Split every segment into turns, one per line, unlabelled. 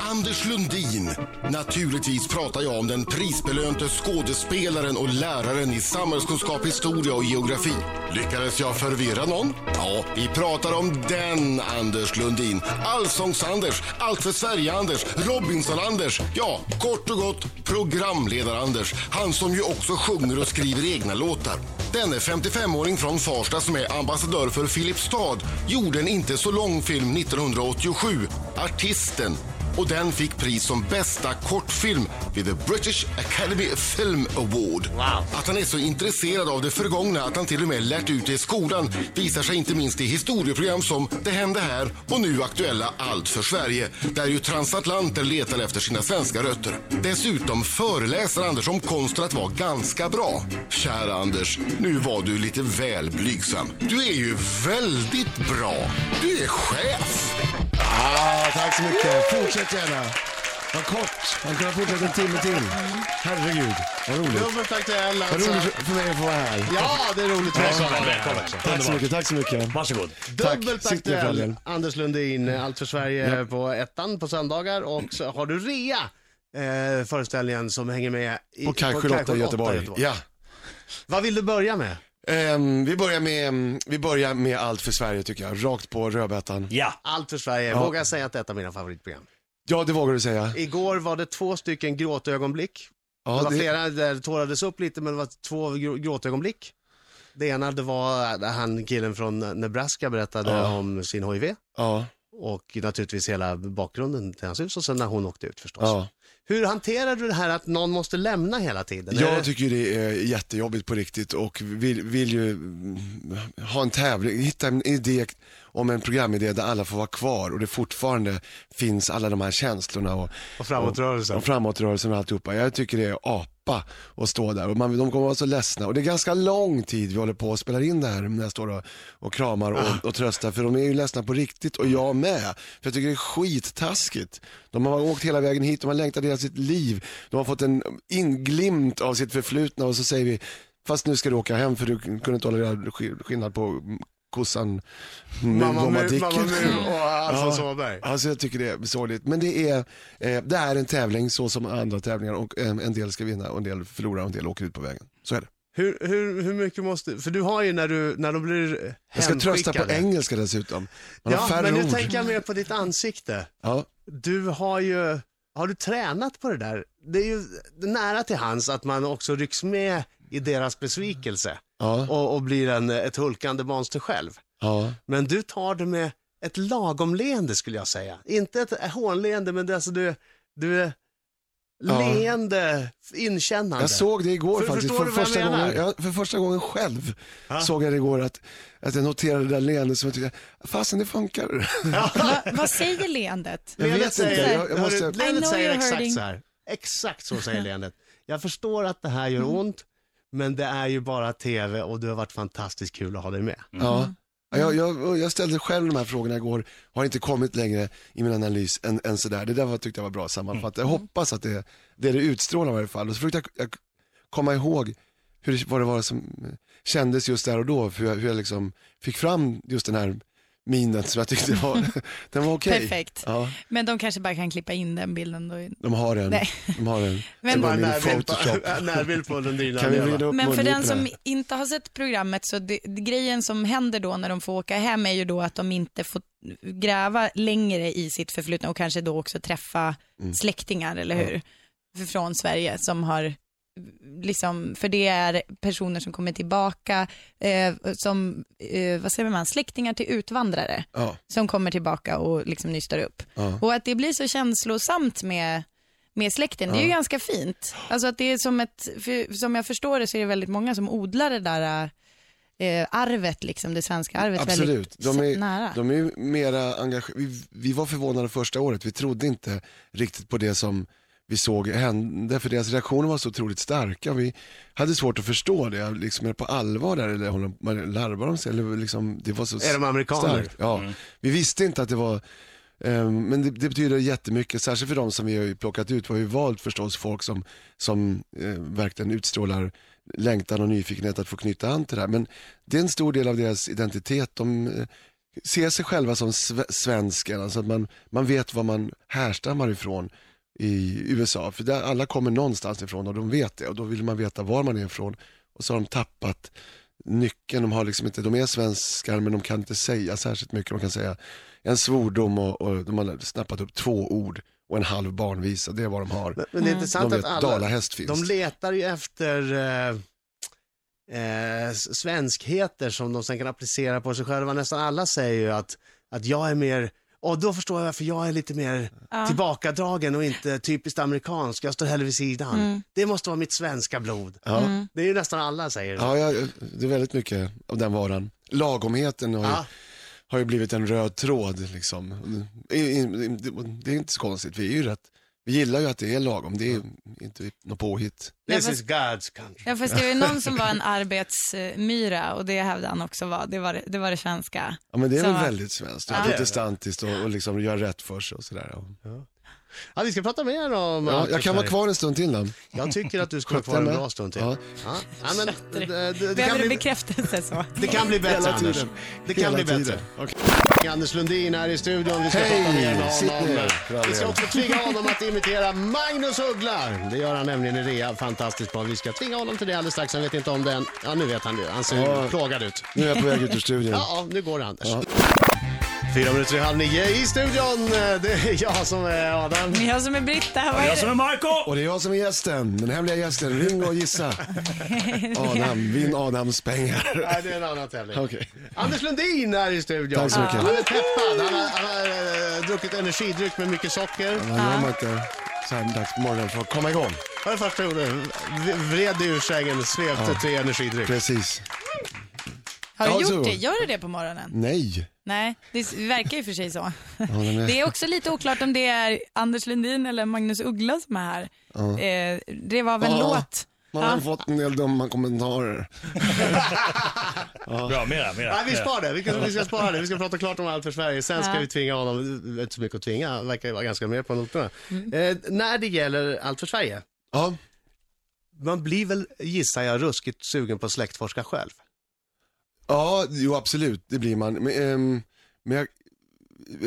Anders Lundin. Naturligtvis pratar jag om den prisbelönte skådespelaren och läraren i samhällskunskap, historia och geografi. Lyckades jag förvirra någon? Ja, vi pratar om den Anders Lundin. Allsångs-Anders, Allt för Sverige-Anders, Robinson-Anders. Ja, kort och gott programledar-Anders. Han som ju också sjunger och skriver egna låtar. Denne 55-åring från Farsta som är ambassadör för Filipstad gjorde en inte så lång film 1987, Artisten. Och den fick pris som bästa kortfilm vid The British Academy Film Award. Att han är så intresserad av det förgångna att han till och med lärt ut det i skolan visar sig inte minst i historieprogram som Det hände här och nu aktuella Allt för Sverige där ju transatlanter letar efter sina svenska rötter. Dessutom föreläser Anders om konsten att vara ganska bra. Kära Anders, nu var du lite väl blygsam. Du är ju väldigt bra. Du är chef.
Ah, tack så mycket. Fortsätt gärna. Vad kort. Man kunde ha fortsatt en timme till. Herregud, vad roligt.
Dubbelt aktuell
Vad
alltså.
roligt för- för mig att få vara här.
Ja, det är roligt.
Välkommen, välkommen.
Tack så mycket, tack så mycket.
Varsågod.
Tack.
Dubbelt
Sitt ner,
aktuell.
Daniel.
Anders Lundin, eh, Allt för Sverige på ettan på söndagar och så har du rea. Eh, föreställningen som hänger med i,
På Kajsjö Lotta i Göteborg.
Ja,
Vad vill du börja med?
ehm, vi, börjar med, ehm, vi börjar med Allt för Sverige tycker jag, rakt på rödbetan.
Ja.
Allt för Sverige, vågar jag säga att det är ett av mina favoritprogram.
Ja, det vågar du säga.
Igår var det två stycken gråtögonblick. det
Ja,
var flera där det tårades upp lite men det var två grå- gråtögonblick. Det ena det var där han killen från Nebraska berättade
Ja.
om sin HIV
ja,
och naturligtvis hela bakgrunden till hans hus och sen när hon åkte ut förstås.
ja.
Hur hanterar du det här att någon måste lämna hela tiden? Är det-
Jag tycker det är jättejobbigt på riktigt och vill, vill ju mm, ha en tävling, hitta en idé om en programidé där alla får vara kvar och det fortfarande finns alla de här känslorna och,
Och framåtrörelsen.
och framåtrörelsen och alltihopa. Jag tycker det är apa att stå där och man, de kommer vara så ledsna och det är ganska lång tid vi håller på och spelar in det här när jag står och, och kramar
Ah.
och, och tröstar för de är ju ledsna på riktigt och jag med. För jag tycker det är skittaskigt. De har åkt hela vägen hit, de har längtat hela sitt liv, de har fått en inglimt av sitt förflutna och så säger vi Fast nu ska du åka hem för du kunde inte hålla reda sk- skillnad på kossan, muv
Mamma
och
Mu,
Madicken.
Mamma Mu och Alfons
Ja.
Åberg.
Alltså jag tycker det är sorgligt. Men det är, eh, det är en tävling så som andra tävlingar och eh, en del ska vinna och en del förlorar och en del åker ut på vägen. Så är det.
Hur, hur, hur mycket måste, för du har ju när du, när de blir
Jag ska trösta på
hemskickade.
engelska dessutom. Man har
Ja,
färre
men nu
ord.
tänker jag mer på ditt ansikte.
Ja.
Du har ju, har du tränat på det där? Det är ju nära till hans att man också rycks med i deras besvikelse
Ja,
och, och blir en, ett hulkande monster själv.
ja,
Men du tar det med ett lagom leende skulle jag säga. Inte ett hånleende, men det är alltså du, du är
Ja.
leende, inkännande.
jag såg det igår
För-
faktiskt.
förstår
För
du vad jag
första,
menar?
gången, ja, för första gången själv såg jag det igår att, att jag noterade det där leendet som jag tyckte, fasen det funkar.
Va, vad säger leendet?
Jag vet inte, jag, jag måste...
Hörru, leendet
I know
säger
you're
exakt
hurting.
så här. Exakt så säger leendet. Jag förstår att det här gör
Mm.
ont, men det är ju bara tv och det har varit fantastiskt kul att ha dig med.
Ja.
Mm.
Ja, Jag, jag, jag ställde själv de här frågorna igår, har inte kommit längre i min analys än, än sådär. Det där var, tyckte jag var bra sammanfattat.
Mm.
Jag hoppas att det det, det utstrålar i varje fall. Och så försökte jag, jag komma ihåg hur det, vad det var som kändes just där och då, hur jag, hur jag liksom fick fram just den här minen som jag tyckte var, den var okej.
Perfekt.
Ja,
Men de kanske bara kan klippa in den bilden. Då.
de har den.
Nej.
De har den.
Men-
Det var
Bara
min
närbild på,
Photoshop.
närbild på den dina
Kan vi
leva.
vrida upp
Men för
mungiporna?
den som inte har sett programmet så det, grejen som händer då när de får åka hem är ju då att de inte får gräva längre i sitt förflutna och kanske då också träffa släktingar, eller hur? Från Sverige som har liksom, för det är personer som kommer tillbaka eh, som, eh, vad säger man, släktingar till utvandrare
Ja,
som kommer tillbaka och liksom nystar upp.
ja.
Och att det blir så känslosamt med, med släkten, det är ju ganska fint. Alltså att det är som ett, för, som jag förstår det så är det väldigt många som odlar det där eh, arvet, liksom, det svenska arvet
Absolut,
väldigt
de är,
nära.
de är ju mera engagerade. Vi, vi var förvånade första året, vi trodde inte riktigt på det som vi såg hände, för deras reaktioner var så otroligt starka. Vi hade svårt att förstå det, liksom, är det på allvar där eller håller, man- larvar de sig? Eller liksom, det var så
Är de amerikaner?
starkt. Ja, vi visste inte att det var eh, men det, det betyder jättemycket, särskilt för de som vi har ju plockat ut. Vi har ju valt förstås folk som, som eh, verkligen utstrålar längtan och nyfikenhet att få knyta an till det här. Men det är en stor del av deras identitet. De eh, se sig själva som sve, svenskar, alltså att man, man vet var man härstammar ifrån i USA. För där alla kommer någonstans ifrån och de vet det och då vill man veta var man är ifrån. Och så har de tappat nyckeln, de, har liksom inte, de är svenskar men de kan inte säga särskilt mycket. De kan säga en svordom och, och de har snappat upp två ord och en halv barnvisa, det är vad de har.
Men, men det är intressant
Mm. De
att
vet
alla,
dalahäst finns.
de letar ju efter eh, eh, s- svenskheter som de sen kan applicera på sig själva. Nästan alla säger ju att, att jag är mer, och då förstår jag varför jag är lite mer
Ja.
tillbakadragen och inte typiskt amerikansk. Jag står hellre vid sidan.
Mm.
Det måste vara mitt svenska blod.
Ja.
Det är ju nästan alla säger.
Ja, ja, det är väldigt mycket av den varan. Lagomheten har ju,
Ja.
har ju blivit en röd tråd. Liksom. I- i- Det är inte så konstigt, vi är ju rätt. Vi gillar ju att det är lagom, det är inte något påhitt.
This
Ja,
is God's country.
Ja, fast det var ju någon som var en arbetsmyra och det hävdade han också var. Det var det, det, var det svenska.
Ja, men det är
Så-
väl väldigt svenskt, och
Ja.
protestantiskt och, och liksom göra rätt för sig och sådär.
Ja, vi ska prata mer om
Ja,
allt
jag
det
kan vara
här.
kvar en stund till då.
Jag tycker att du ska vara
Skötte
kvar en
jag med?
bra stund till. Ja.
Ja.
Ja, men, det, det, det, kan
Behöver du
bli,
bekräftelse så?
det kan bli bättre,
Hela
Anders.
tiden.
Det kan
Hela
bli bättre.
tiden.
Anders Lundin här i studion. Vi ska
Hej,
prata mer med
sitt
honom.
ner, för all
Vi ska
del.
också tvinga honom att imitera Magnus Uggla. Det gör han nämligen i rea. Fantastiskt bra. Vi ska tvinga honom till det alldeles strax. Han vet inte om det än. Ja, nu vet han det. Han ser
Ja.
plågad ut.
Nu är jag på väg ut ur studion.
Ja, ja, nu går det Anders. Fyra minuter i halv nio i studion. Det är jag som är Adam.
Men jag som är Britta, vad är
Jag som
det?
är Marco!
Och det är jag som är gästen, den hemliga gästen. Ring och gissa. Adam, vinn Adams pengar.
Nej, det är en annan tävling.
Okej.
Anders Lundin är i studion.
Tack så mycket.
Han är peppad. Han har, han har eh, druckit energidryck med mycket socker.
Vad gör man inte så här dags på morgonen för att komma igång?
Vad är det första du gjorde? V- Vred dig ur sängen, svepte till energidryck.
Precis.
Har
Ja,
du
så.
gjort det? Gör du det på morgonen?
Nej.
Nej, det verkar ju för sig så.
men det-
Det är också lite oklart om det är Anders Lundin eller Magnus Uggla som är här. Eh, Det var väl
Ja.
låt?
Man har
Ja.
fått en del dumma kommentarer.
Bra, mera, mera.
Nej, vi
mera.
sparar det. Vi, kan, vi ska spara det. Vi ska prata klart om allt för Sverige. Sen ska
Ja.
vi tvinga honom. Det är Inte så mycket att tvinga. Han verkar ju vara ganska med på noterna.
Mm.
Eh, när det gäller allt för Sverige.
Ja,
Man blir väl, gissar jag, ruskigt sugen på att släktforska själv.
ja jo absolut, det blir man. Men, ehm, men jag,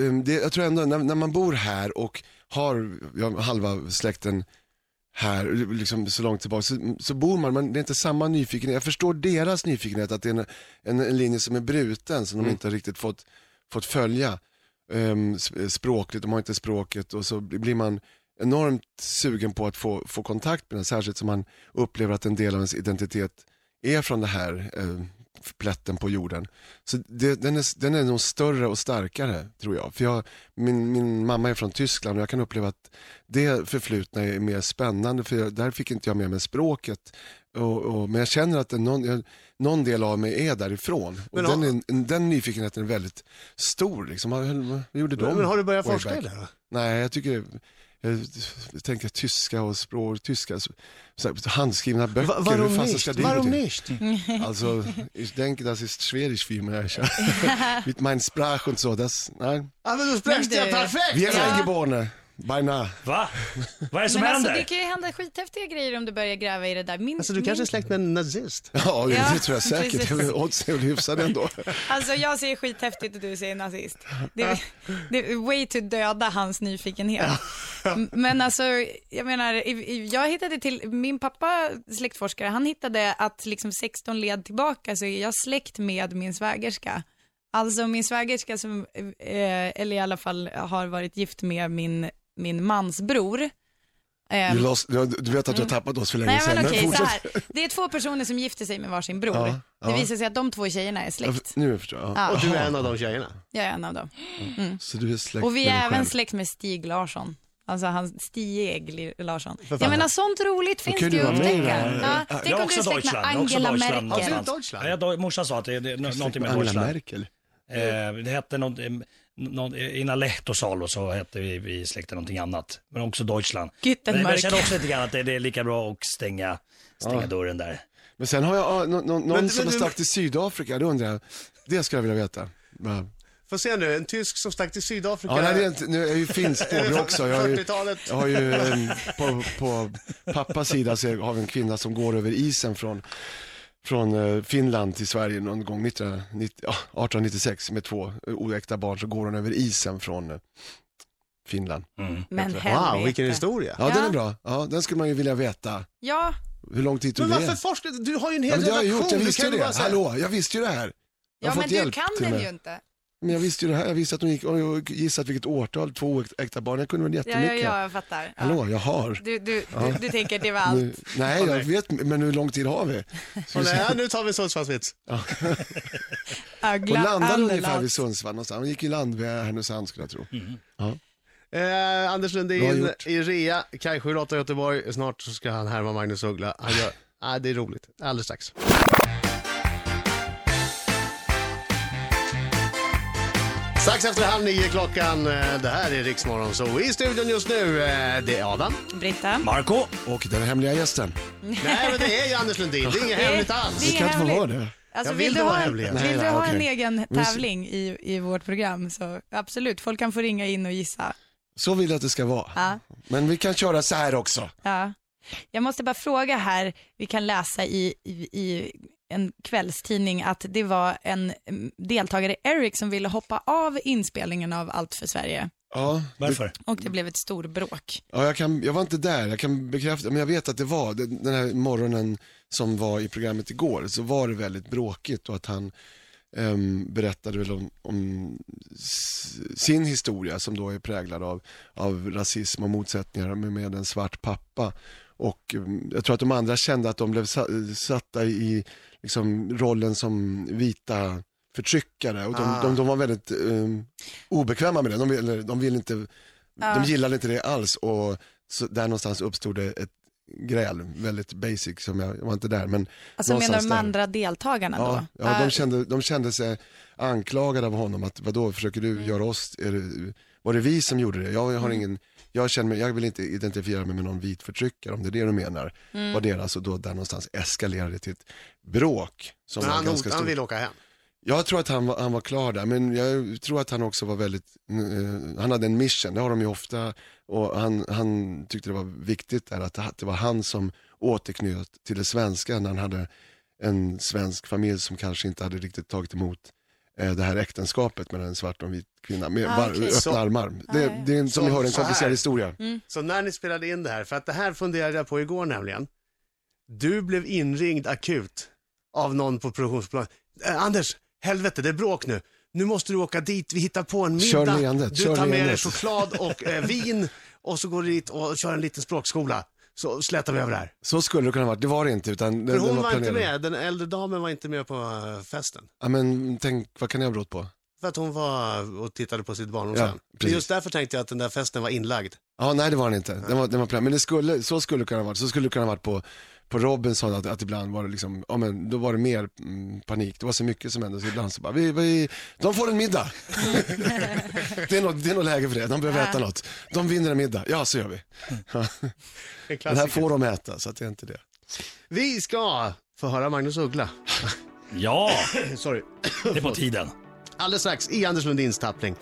ehm, det, jag tror ändå, när, när man bor här och har ja, halva släkten här, liksom så långt tillbaka, så, så bor man, men det är inte samma nyfikenhet. Jag förstår deras nyfikenhet, att det är en, en, en linje som är bruten, som de inte har riktigt fått, fått följa ehm, sp- språkligt, de har inte språket och så blir man enormt sugen på att få, få kontakt med den, särskilt som man upplever att en del av ens identitet är från det här eh, plätten på jorden. Så det, den, är, den är nog större och starkare, tror jag. För jag, min, min mamma är från Tyskland och jag kan uppleva att det förflutna är mer spännande, för jag, där fick inte jag med mig språket. Och, och, men jag känner att det, någon, jag, någon del av mig är därifrån. Och
Men
den,
har-
är, den nyfikenheten är väldigt stor. Liksom. Vad höll- vad gjorde de?
Men har du börjat
way
forska i
back?
det? då?
Nej, jag tycker... Jag, jag tänker tyska och språk, tyska, så, så här, handskrivna böcker.
Va-
hur
Varom
fan
nicht?
ska det gå
Varom
till?
nicht?
Mm.
Also, ich denke, das ist schwierig für mich. Mit meiner Sprache und so. Das, nein.
Ja, men du spräckte
Men
jag
du-
perfekt!
Vi är eingeborene, beinahe.
Va? Vad är det som
Men alltså,
händer?
det kan ju hända skithäftiga grejer om du börjar gräva i det där. Min,
Alltså, du kanske är släkt med en nazist?
Ja, det
Ja,
tror jag säkert.
precis.
Oddsen är väl hyfsade ändå.
Alltså jag säger skithäftigt och du säger nazist. Det är, det är way to döda hans nyfikenhet. Men alltså, jag menar, i- i- jag hittade till, min pappa släktforskare, han hittade att liksom 16 led tillbaka så är jag släkt med min svägerska. Alltså min svägerska som, eh, eller i alla fall har varit gift med min, min mans bror. Eh,
Du, lost, du, du vet att du har tappat oss för länge
Nej
sedan.
men okej, så
fortsätt.
här. Det är två personer som gifter sig med varsin bror.
Ja,
Det
ja.
visar sig att de två tjejerna är
Ja,
släkt.
Nu förstår jag.
Ja.
Och du är en av de tjejerna.
Jag är en av dem.
Så du är släkt
Och vi
med dig
är även
själv.
släkt med Stig Larsson. Alltså han Stieg Li- Larsson. Jag
fan.
menar sånt roligt finns
kan
det ju
du
att
vara med i det
upptäcka.
här.
Ja,
Jag
tänk
är
om du är
också
släkt med
Deutschland. jag är också
Angela
Deutschland någonstans.
Merkel.
Ja, du är Deutschland.
Ja, då- morsan sa att det är det är nå- någonting med
Angela
Deutschland.
Merkel.
Eh, det hette något, eh, någon, innan Lehtosalo så hette vi i släkten någonting annat. Men också Deutschland. Men, men jag
Gutenberg.
känner också lite grann att det, det är lika bra att stänga, stänga dörren där.
Men sen har jag ah, nå- nå- någon
men-
som har
men-
stack till Sydafrika, det undrar jag. Det skulle jag vilja veta. Ja,
Får se nu, en tysk som stack till Sydafrika.
ja, nej, det är inte, nu är jag ju finsk påbrå också. Jag har ju,
40-talet.
Jag har ju, em, på, på pappas sida så har vi en kvinna som går över isen från, från eh, Finland till Sverige någon gång 1990, ja, 1896 med två eh, oäkta barn så går hon över isen från eh, Finland.
Mm.
Men
Wow,
helvete.
vilken historia.
Ja,
Ja.
den är bra. Ja, den skulle man ju vilja veta.
Ja,
Hur lång tid tog
Men
det?
varför forskar du? Du har ju en
Ja,
hel
men det har jag
redaktion.
gjort, jag
Du
visste
kan
ju det.
bara säga-
Hallå, jag visste ju det här. Jag
ja
har
men
fått
du
hjälp
kan
till och
den
med.
ju inte.
Men jag visste ju det här, jag visste att hon gick, och jag gissat vilket årtal, två oäkta barn, jag kunde väl
Ja,
jättemycket.
ja, ja, jag fattar. Ja.
Hallå, jag har.
Du, du, du, du tänker det var allt.
Nu, nej, jag vet, men hur lång tid har vi?
Åh, nej, nu tar vi Sundsvallsvits.
Hon
Agla,
landade
Annelat.
ungefär vid Sundsvall någonstans. Hon gick i land vid Härnösand skulle jag tro.
Eh, Anders
Bra
Lundin
gjort.
i rea, Kaj 708 i Göteborg. Snart så ska han härma Magnus Uggla. Han gör... ah, det är roligt. Alldeles strax. Strax efter halv nio klockan. eh, Det här är Riksmorgon, så i studion just nu, eh, det är Adam.
Britta.
Marco,
Och den hemliga gästen.
Nej, men det är ju Anders Lundin. Det är inget hemligt alls.
Vi kan inte få
hemligt.
ha det.
Alltså,
Jag
vill
vill
du
det
ha,
vara
en,
hemlig.
vill
Nej,
du
nej,
ha en
okej.
egen
Men-
tävling i, i vårt program så absolut, folk kan få ringa in och gissa.
Så vill jag att det ska vara.
Ja,
Men vi kan köra så här också.
ja. Jag måste bara fråga här, vi kan läsa i, i, i en kvällstidning att det var en mm, deltagare, Eric, som ville hoppa av inspelningen av Allt för Sverige
Ja, det,
varför?
och det blev ett storbråk.
ja jag, kan, jag var inte där, jag kan bekräfta, men jag vet att det var den den här morgonen som var i programmet igår, så var det väldigt bråkigt och att han ehm, berättade väl om, om s- sin historia som då är präglad av, av rasism och motsättningar med, med en svart pappa. Och ehm, jag tror att de andra kände att de blev sa- satta i liksom, rollen som vita förtryckare och de,
Ah.
de, de var väldigt ehm, obekväma med det. De ville, de ville inte,
Ah.
de gillade inte det alls och så där någonstans uppstod det ett gräl, väldigt basic som jag, jag var inte där men
Alltså menar
någonstans
du de
där.
andra deltagarna
Ja,
då?
ja
Ah,
de, kände, de kände sig anklagade av honom att vadå, försöker du göra oss, är det, var det vi som gjorde det? Jag, har ingen, jag, känner mig, jag vill inte identifiera mig med någon vit förtryckare om det är det du menar. Var deras och då där någonstans eskalerade det till ett bråk. Som
Men
var
han,
ganska
han
stort.
vill åka hem.
Jag tror att han var, han var klar där, men jag tror att han också var väldigt, eh, han hade en mission, det har de ju ofta, och han, han tyckte det var viktigt där att det- det var han som återknöt till det svenska när han hade en svensk familj som kanske inte hade riktigt tagit emot eh, det här äktenskapet mellan en svart och en vit kvinna med
Ah,
var,
okej.
öppna
Så-
armar. Det,
ja, ja.
det är en, som ni
Så-
hör en
så här. Mm.
komplicerad historia.
Så när ni spelade in det här, för att det här funderade jag på igår nämligen. Du blev inringd akut av någon på produktionsbolaget. Eh, Anders, helvete det är bråk nu. Nu måste du åka dit, vi hittar på en middag.
Kör leendet,
du
kör
tar med dig
leendet."
choklad och eh, vin och så går du dit och kör en liten språkskola. Så slätar vi över det här.
Så skulle det kunna vara, det var det inte. Utan
För hon var inte med, den äldre damen var inte med på eh, festen.
Ja, men tänk, vad kan jag ha brott på?
För att hon var och tittade på sitt barn och
Ja,
sen. Men
precis.
just därför tänkte jag att den där festen var inlagd.
Ja, nej det var den inte. Den var, den var plan. Men det skulle, så skulle det kunna ha varit. Så skulle det kunna ha varit på, på Robinson att, att ibland var det liksom, ja men då var det mer mm, panik. Det var så mycket som hände så ibland så bara, vi, vi, de får en middag. det, är något, det är något läge för det, de behöver äta något. De vinner en middag, ja så gör vi.
En
Men här
klassiker.
får de äta, så att det är inte det.
Vi ska få höra Magnus Uggla.
Ja,
Sorry.
det är på tiden.
Alldeles strax i Anders Lundins tappning.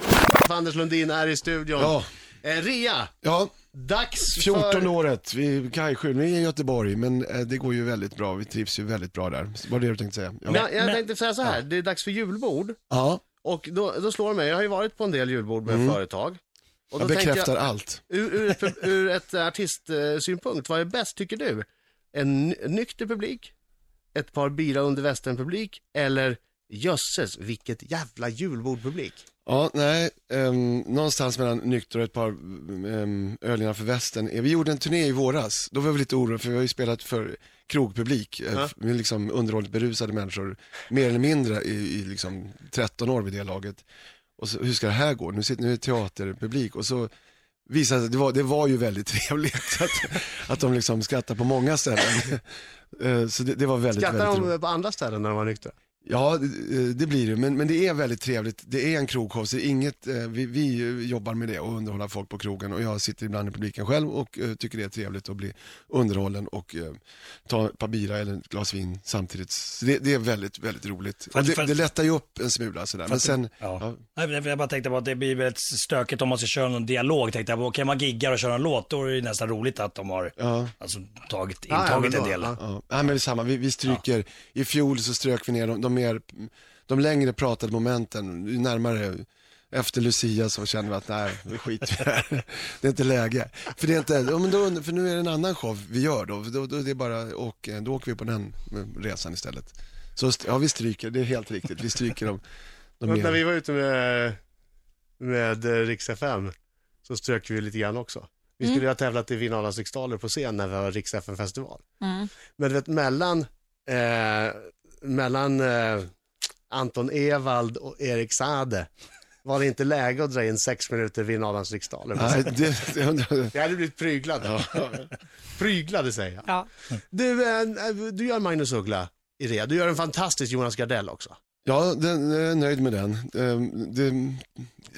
Anders Lundin är i studion.
Ja,
Eh, Ria,
ja
dags
14
för...
året, vi, Kajsjö, vi är i Göteborg, men eh, det går ju väldigt bra. Vi trivs ju väldigt bra där. Var det du tänkte säga? Ja.
Ja, jag tänkte säga så här, det är dags för julbord.
ja.
Och då, då slår det mig, jag har ju varit på en del julbord med företag. Och då
Jag
tänker
Mm. bekräftar allt.
Jag, ur, ur, ett- ur ett eh, artistsynpunkt, vad är bäst tycker du? En ny- nykter publik, ett par bira under västern-publik eller jösses vilket jävla julbord-publik.
Ja, nej, ehm, någonstans mellan nykter och ett par um, öl innanför västen. Eh, Vi gjorde en turné i våras, då var vi lite oroliga för vi har ju spelat för krogpublik, eh, f- med liksom underhållit berusade människor, mer eller mindre i, i liksom 13 år vid det laget. Och så, hur ska det här gå? Nu, sitter, nu är det teaterpublik och så visade det sig, det var, det var ju väldigt trevligt att, att de liksom skrattar på många ställen. Eh, så det, det var väldigt,
Skrattar
väldigt roligt.
de på andra ställen när de var nyktra?
Ja, eh, det, det blir det. Men, men det är väldigt trevligt. Det är en krogshow, så det är inget, eh, vi, vi jobbar med det och underhåller folk på krogen. Och jag sitter ibland i publiken själv och eh, tycker det är trevligt att bli underhållen och eh, ta ett par bira eller ett glas vin samtidigt. Så det, det är väldigt, väldigt roligt.
Fast-
och det,
fast-
det lättar ju upp en smula sådär. Men sen,
Ja.
ja,
Nej, men Jag bara tänkte på att det blir väldigt stökigt om man ska köra någon dialog. Tänkte jag, på, okej man giggar och kör en låt, då är det ju nästan roligt att de har
ja.
alltså, tagit,
Ja, ja,
intagit
men
en
då,
del.
ja.
Ja, nej, men det är samma. Vi, vi stryker, i fjol så strök vi ner de, de, mer, de längre pratade momenten, ju närmare efter Lucia så känner vi att nej, vi skiter i det här. Det är inte läge. För, det är inte, ja, men då, för nu är det en annan show vi gör då, då, då, det är bara, och eh, då åker vi på den eh, resan istället. Så st- ja, vi stryker, det är helt riktigt. Vi stryker de, de
Men när vi
mer.
var ute med, med eh, Rix FM så strök vi lite grann också. Vi skulle
Mm.
ju ha tävlat i Finalans riksdaler på scen när vi var Rix FM-festival.
Mm.
Men du vet mellan, eh, mellan eh, Anton Ewald och Erik Saade var det inte läge att dra in sex minuter Finalans riksdaler.
Nej, det, det, undrar-
Jag hade blivit pryglad. Pryglade säger jag.
Ja.
Du, eh, du gör Magnus Uggla i det. Du gör en fantastisk Jonas Gardell också.
Ja, den, jag är nöjd med den. Ehm, Det,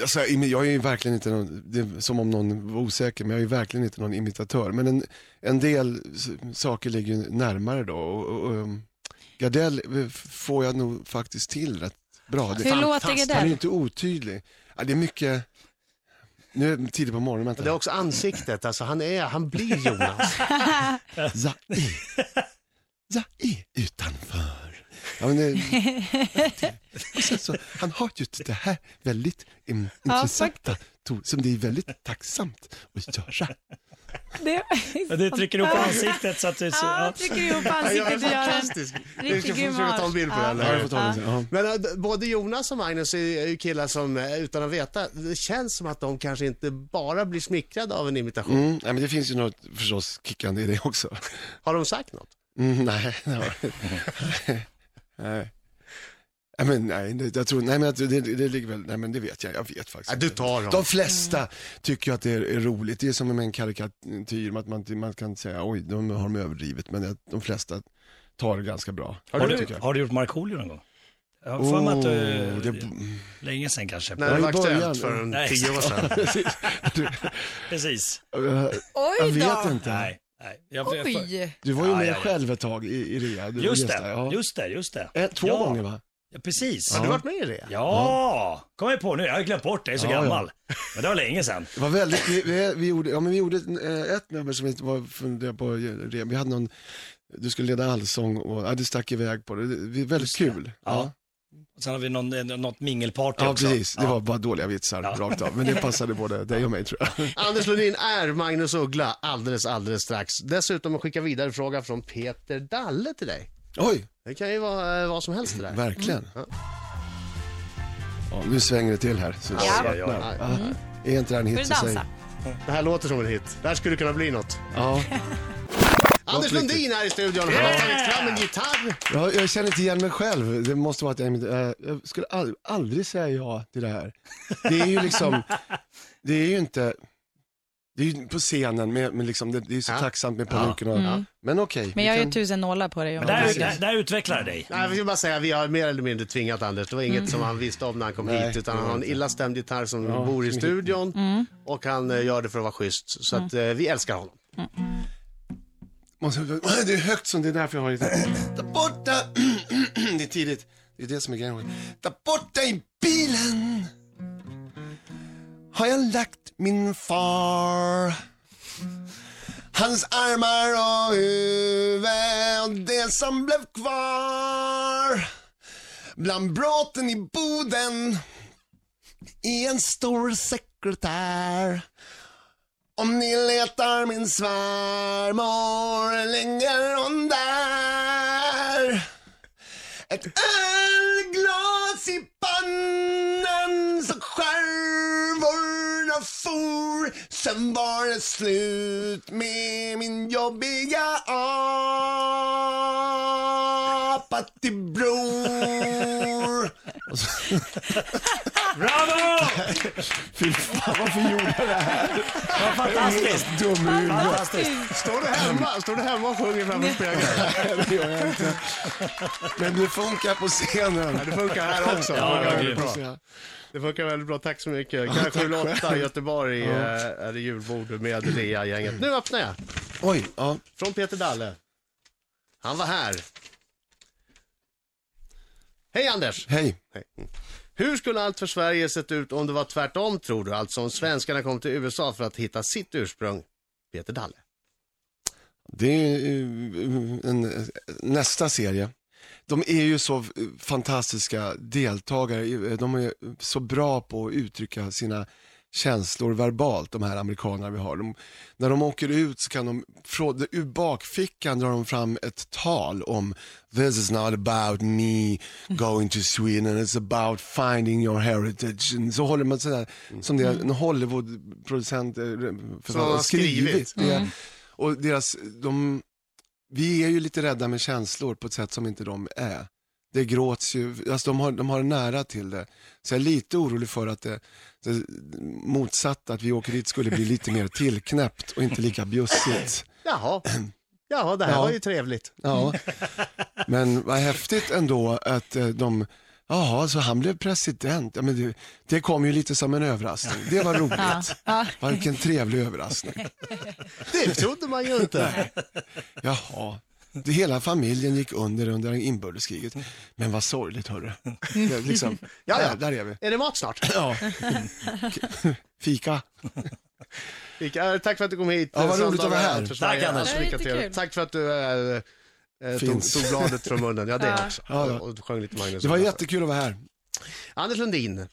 alltså, imi- jag är ju verkligen inte någon, det är som om någon var osäker, men jag är ju verkligen inte någon imitatör. Men en, en del s- saker ligger ju närmare då. Och, och, och, ehm, Gardell eh, f- får jag nog faktiskt till rätt bra. Det,
Hur låter det
han är ju
där?
inte otydlig. Ja, det är mycket, nu är det tidigt på morgonen,
Och Det är
vänta.
också ansiktet, alltså han är, han blir Jonas.
Zai, Zai utanför. Ja, men det, och sen så, han har ju det här väldigt in,
Ja,
intressanta ton som det är väldigt tacksamt att göra.
Det...
Men Du trycker upp ansiktet så att du... Så,
Ja,
ja.
trycker ihop
jag är
ansiktet och gör en
fantastisk. Vi ska
riktig
försöka ta en bild på
grimas.
den.
Ja, jag får ta
Ja.
den sen. Ja.
Men eh, d- både Jonas och Magnus är är ju killar som eh, utan att veta, det känns som att de kanske inte bara blir smickrade av en imitation.
Mm, nej, men det finns ju något förstås kickande i det också.
Har de sagt något?
Mm, nej, nej. nej. Nej, men, nej, det- jag tror, nej, men att det, det, det ligger väl, nej men det vet jag, jag vet faktiskt
Ja,
Äh,
du
inte.
tar dem.
De flesta tycker ju att det är, är roligt, det är som med en karikatyr, att man, man kan säga oj, de har de överdrivet, men jag- de flesta tar det ganska bra.
Har,
Det
du,
tycker jag.
har du gjort Markoolio någon gång? Jag har för mig att eh,
Åh,
du...
det-
Länge sedan kanske.
När det
i
var
början.
aktuellt för en
Nej,
tio år sedan.
Precis.
Eh, jag
Oj
vet
då!
inte.
Nej. Nej. Jag, jag, jag,
Oj!
Du var ju
Ja,
med
ja, ja.
själv ett tag i, i Rea. Du var
just
gäst där,
det,
ja.
just det, just det.
Eh, Två
ja.
gånger va?
Ja, precis.
Har du
Ja,
varit med i det?
kom jag på nu. Jag har glömt bort det, jag är så
Ja, ja.
gammal. Men det var länge sedan.
Det var väldigt, vi, vi, vi gjorde, ja, men vi gjorde ett, eh, ett nummer som vi inte var funderade på, Rea. vi hade någon, du skulle leda allsång och ja, du stack iväg på det. Det det är väldigt kul.
Ja. Och sen har vi någon, eh, något mingelparty
Ja,
också.
precis. Det var bara dåliga vitsar
Ja.
rakt av. Men det passade både dig och mig tror jag.
Anders Lundin är Magnus Uggla alldeles, alldeles strax. Dessutom en skicka vidare fråga från Peter Dalle till dig.
Oj,
Det kan ju vara eh, vad som helst det där.
verkligen.
Ja.
Mm. Ja, nu svänger det till här. Så det
Ja, ja, ja.
svartnar. Ja. Är inte det här en
Får
hit
du
så säg.
dansa?
Det här låter som en hit. Det här skulle kunna bli något.
Ja.
Anders
riktigt.
Lundin här i studion. Han har tagit fram en gitarr.
Ja, jag känner inte igen mig själv. Det måste vara att jag, eh, jag skulle all, aldrig säga ja till det här. Det är ju liksom, det är ju inte, det är ju på scenen, men, men liksom, det, det är så
Ja.
tacksamt med peruken och, men okej.
Men jag
vi
har ju
kan-
tusen nålar på dig. Jonas.
Där,
precis.
där, där utvecklar jag dig.
Nej, jag vill bara säga, vi har mer eller mindre tvingat Anders. Det var inget som han visste om när han kom
Mm. Nej,
hit, utan
det var
han har en
inte.
illa stämd gitarr som bor i studion
Mm.
och han eh, gör det för att vara schysst. Så att eh, vi älskar honom.
Måste, det är högt som det är därför jag har lite... Där borta! Det är tidigt. Det är det som är grejen. Där borta i bilen har jag lagt min far. Hans armar och huvud och det som blev kvar. Bland bråten i Boden i en stor sekretär. Om ni letar min svärmor ligger hon där. Ett ölglas i pannan så skärvorna for. Sen var det slut med min jobbiga apa till bror.
Bravo!
Fy fan, varför gjorde jag det här?
Vad fantastiskt!
Dum i
alltså,
huvudet.
Fantastiskt.
Står du hemma, står du hemma och sjunger framför spegeln?
Nej, det gör jag inte. Men det funkar på scenen.
Ja, det funkar här också. det,
Ja, ja,
funkar
grymt.
väldigt bra. det funkar väldigt bra. Tack så mycket. Kanske 8 i Göteborg eh, är det julbord med Lea-gänget. Nu öppnar jag.
Oj, ja.
Från Peter Dalle. Han var här. Hej Anders!
Hej.
Hur skulle allt för Sverige sett ut om det var tvärtom tror du? Alltså om svenskarna kom till USA för att hitta sitt ursprung? Peter Dalle.
Det är eh, en, eh, nästa serie. De är ju så eh, fantastiska deltagare. Eh, De är så bra på att uttrycka sina känslor verbalt, de här amerikanerna vi har. De, när de åker ut så kan de, från, ur bakfickan drar de fram ett tal om This is not about me going to Sweden, it's about finding your heritage. And så håller man sådär, som det en Hollywood-producent eh, författare,
Mm. har skrivit. Mm.
Det är- och deras, de, vi är ju lite rädda med känslor på ett sätt som inte de är. Det gråts ju, alltså de har, de har nära till det. Så jag är lite orolig för att det, det motsatta, att vi åker dit skulle bli lite mer tillknäppt och inte lika bjussigt.
Jaha, Jaha det här
Ja.
var ju trevligt.
Ja. Men vad häftigt ändå att eh, de, jaha, så han blev president. Ja, men det, det kom ju lite som en överraskning. Det var
Ja.
roligt.
Ja.
Vilken trevlig överraskning.
Det trodde man ju inte.
Jaha. Det hela familjen gick under under inbördeskriget. Men vad sorgligt hörru. Det är Liksom,
Ja, ja.
Där, där är vi.
Är det mat snart?
Ja. Fika.
Vilka- eh, Tack för att du kom hit.
Ja, vad
Söndag
roligt att vara
var
här.
allt för Sverige.
Tack, Anders.
Alltså,
Det var
lycka
jättekul.
till. Tack för att du eh, eh, tog,
Finns.
tog bladet från munnen. Ja, det också.
Ja, ja.
Och, och sjöng lite Magnus.
Det var
Olsson.
jättekul att vara här.
Anders Lundin.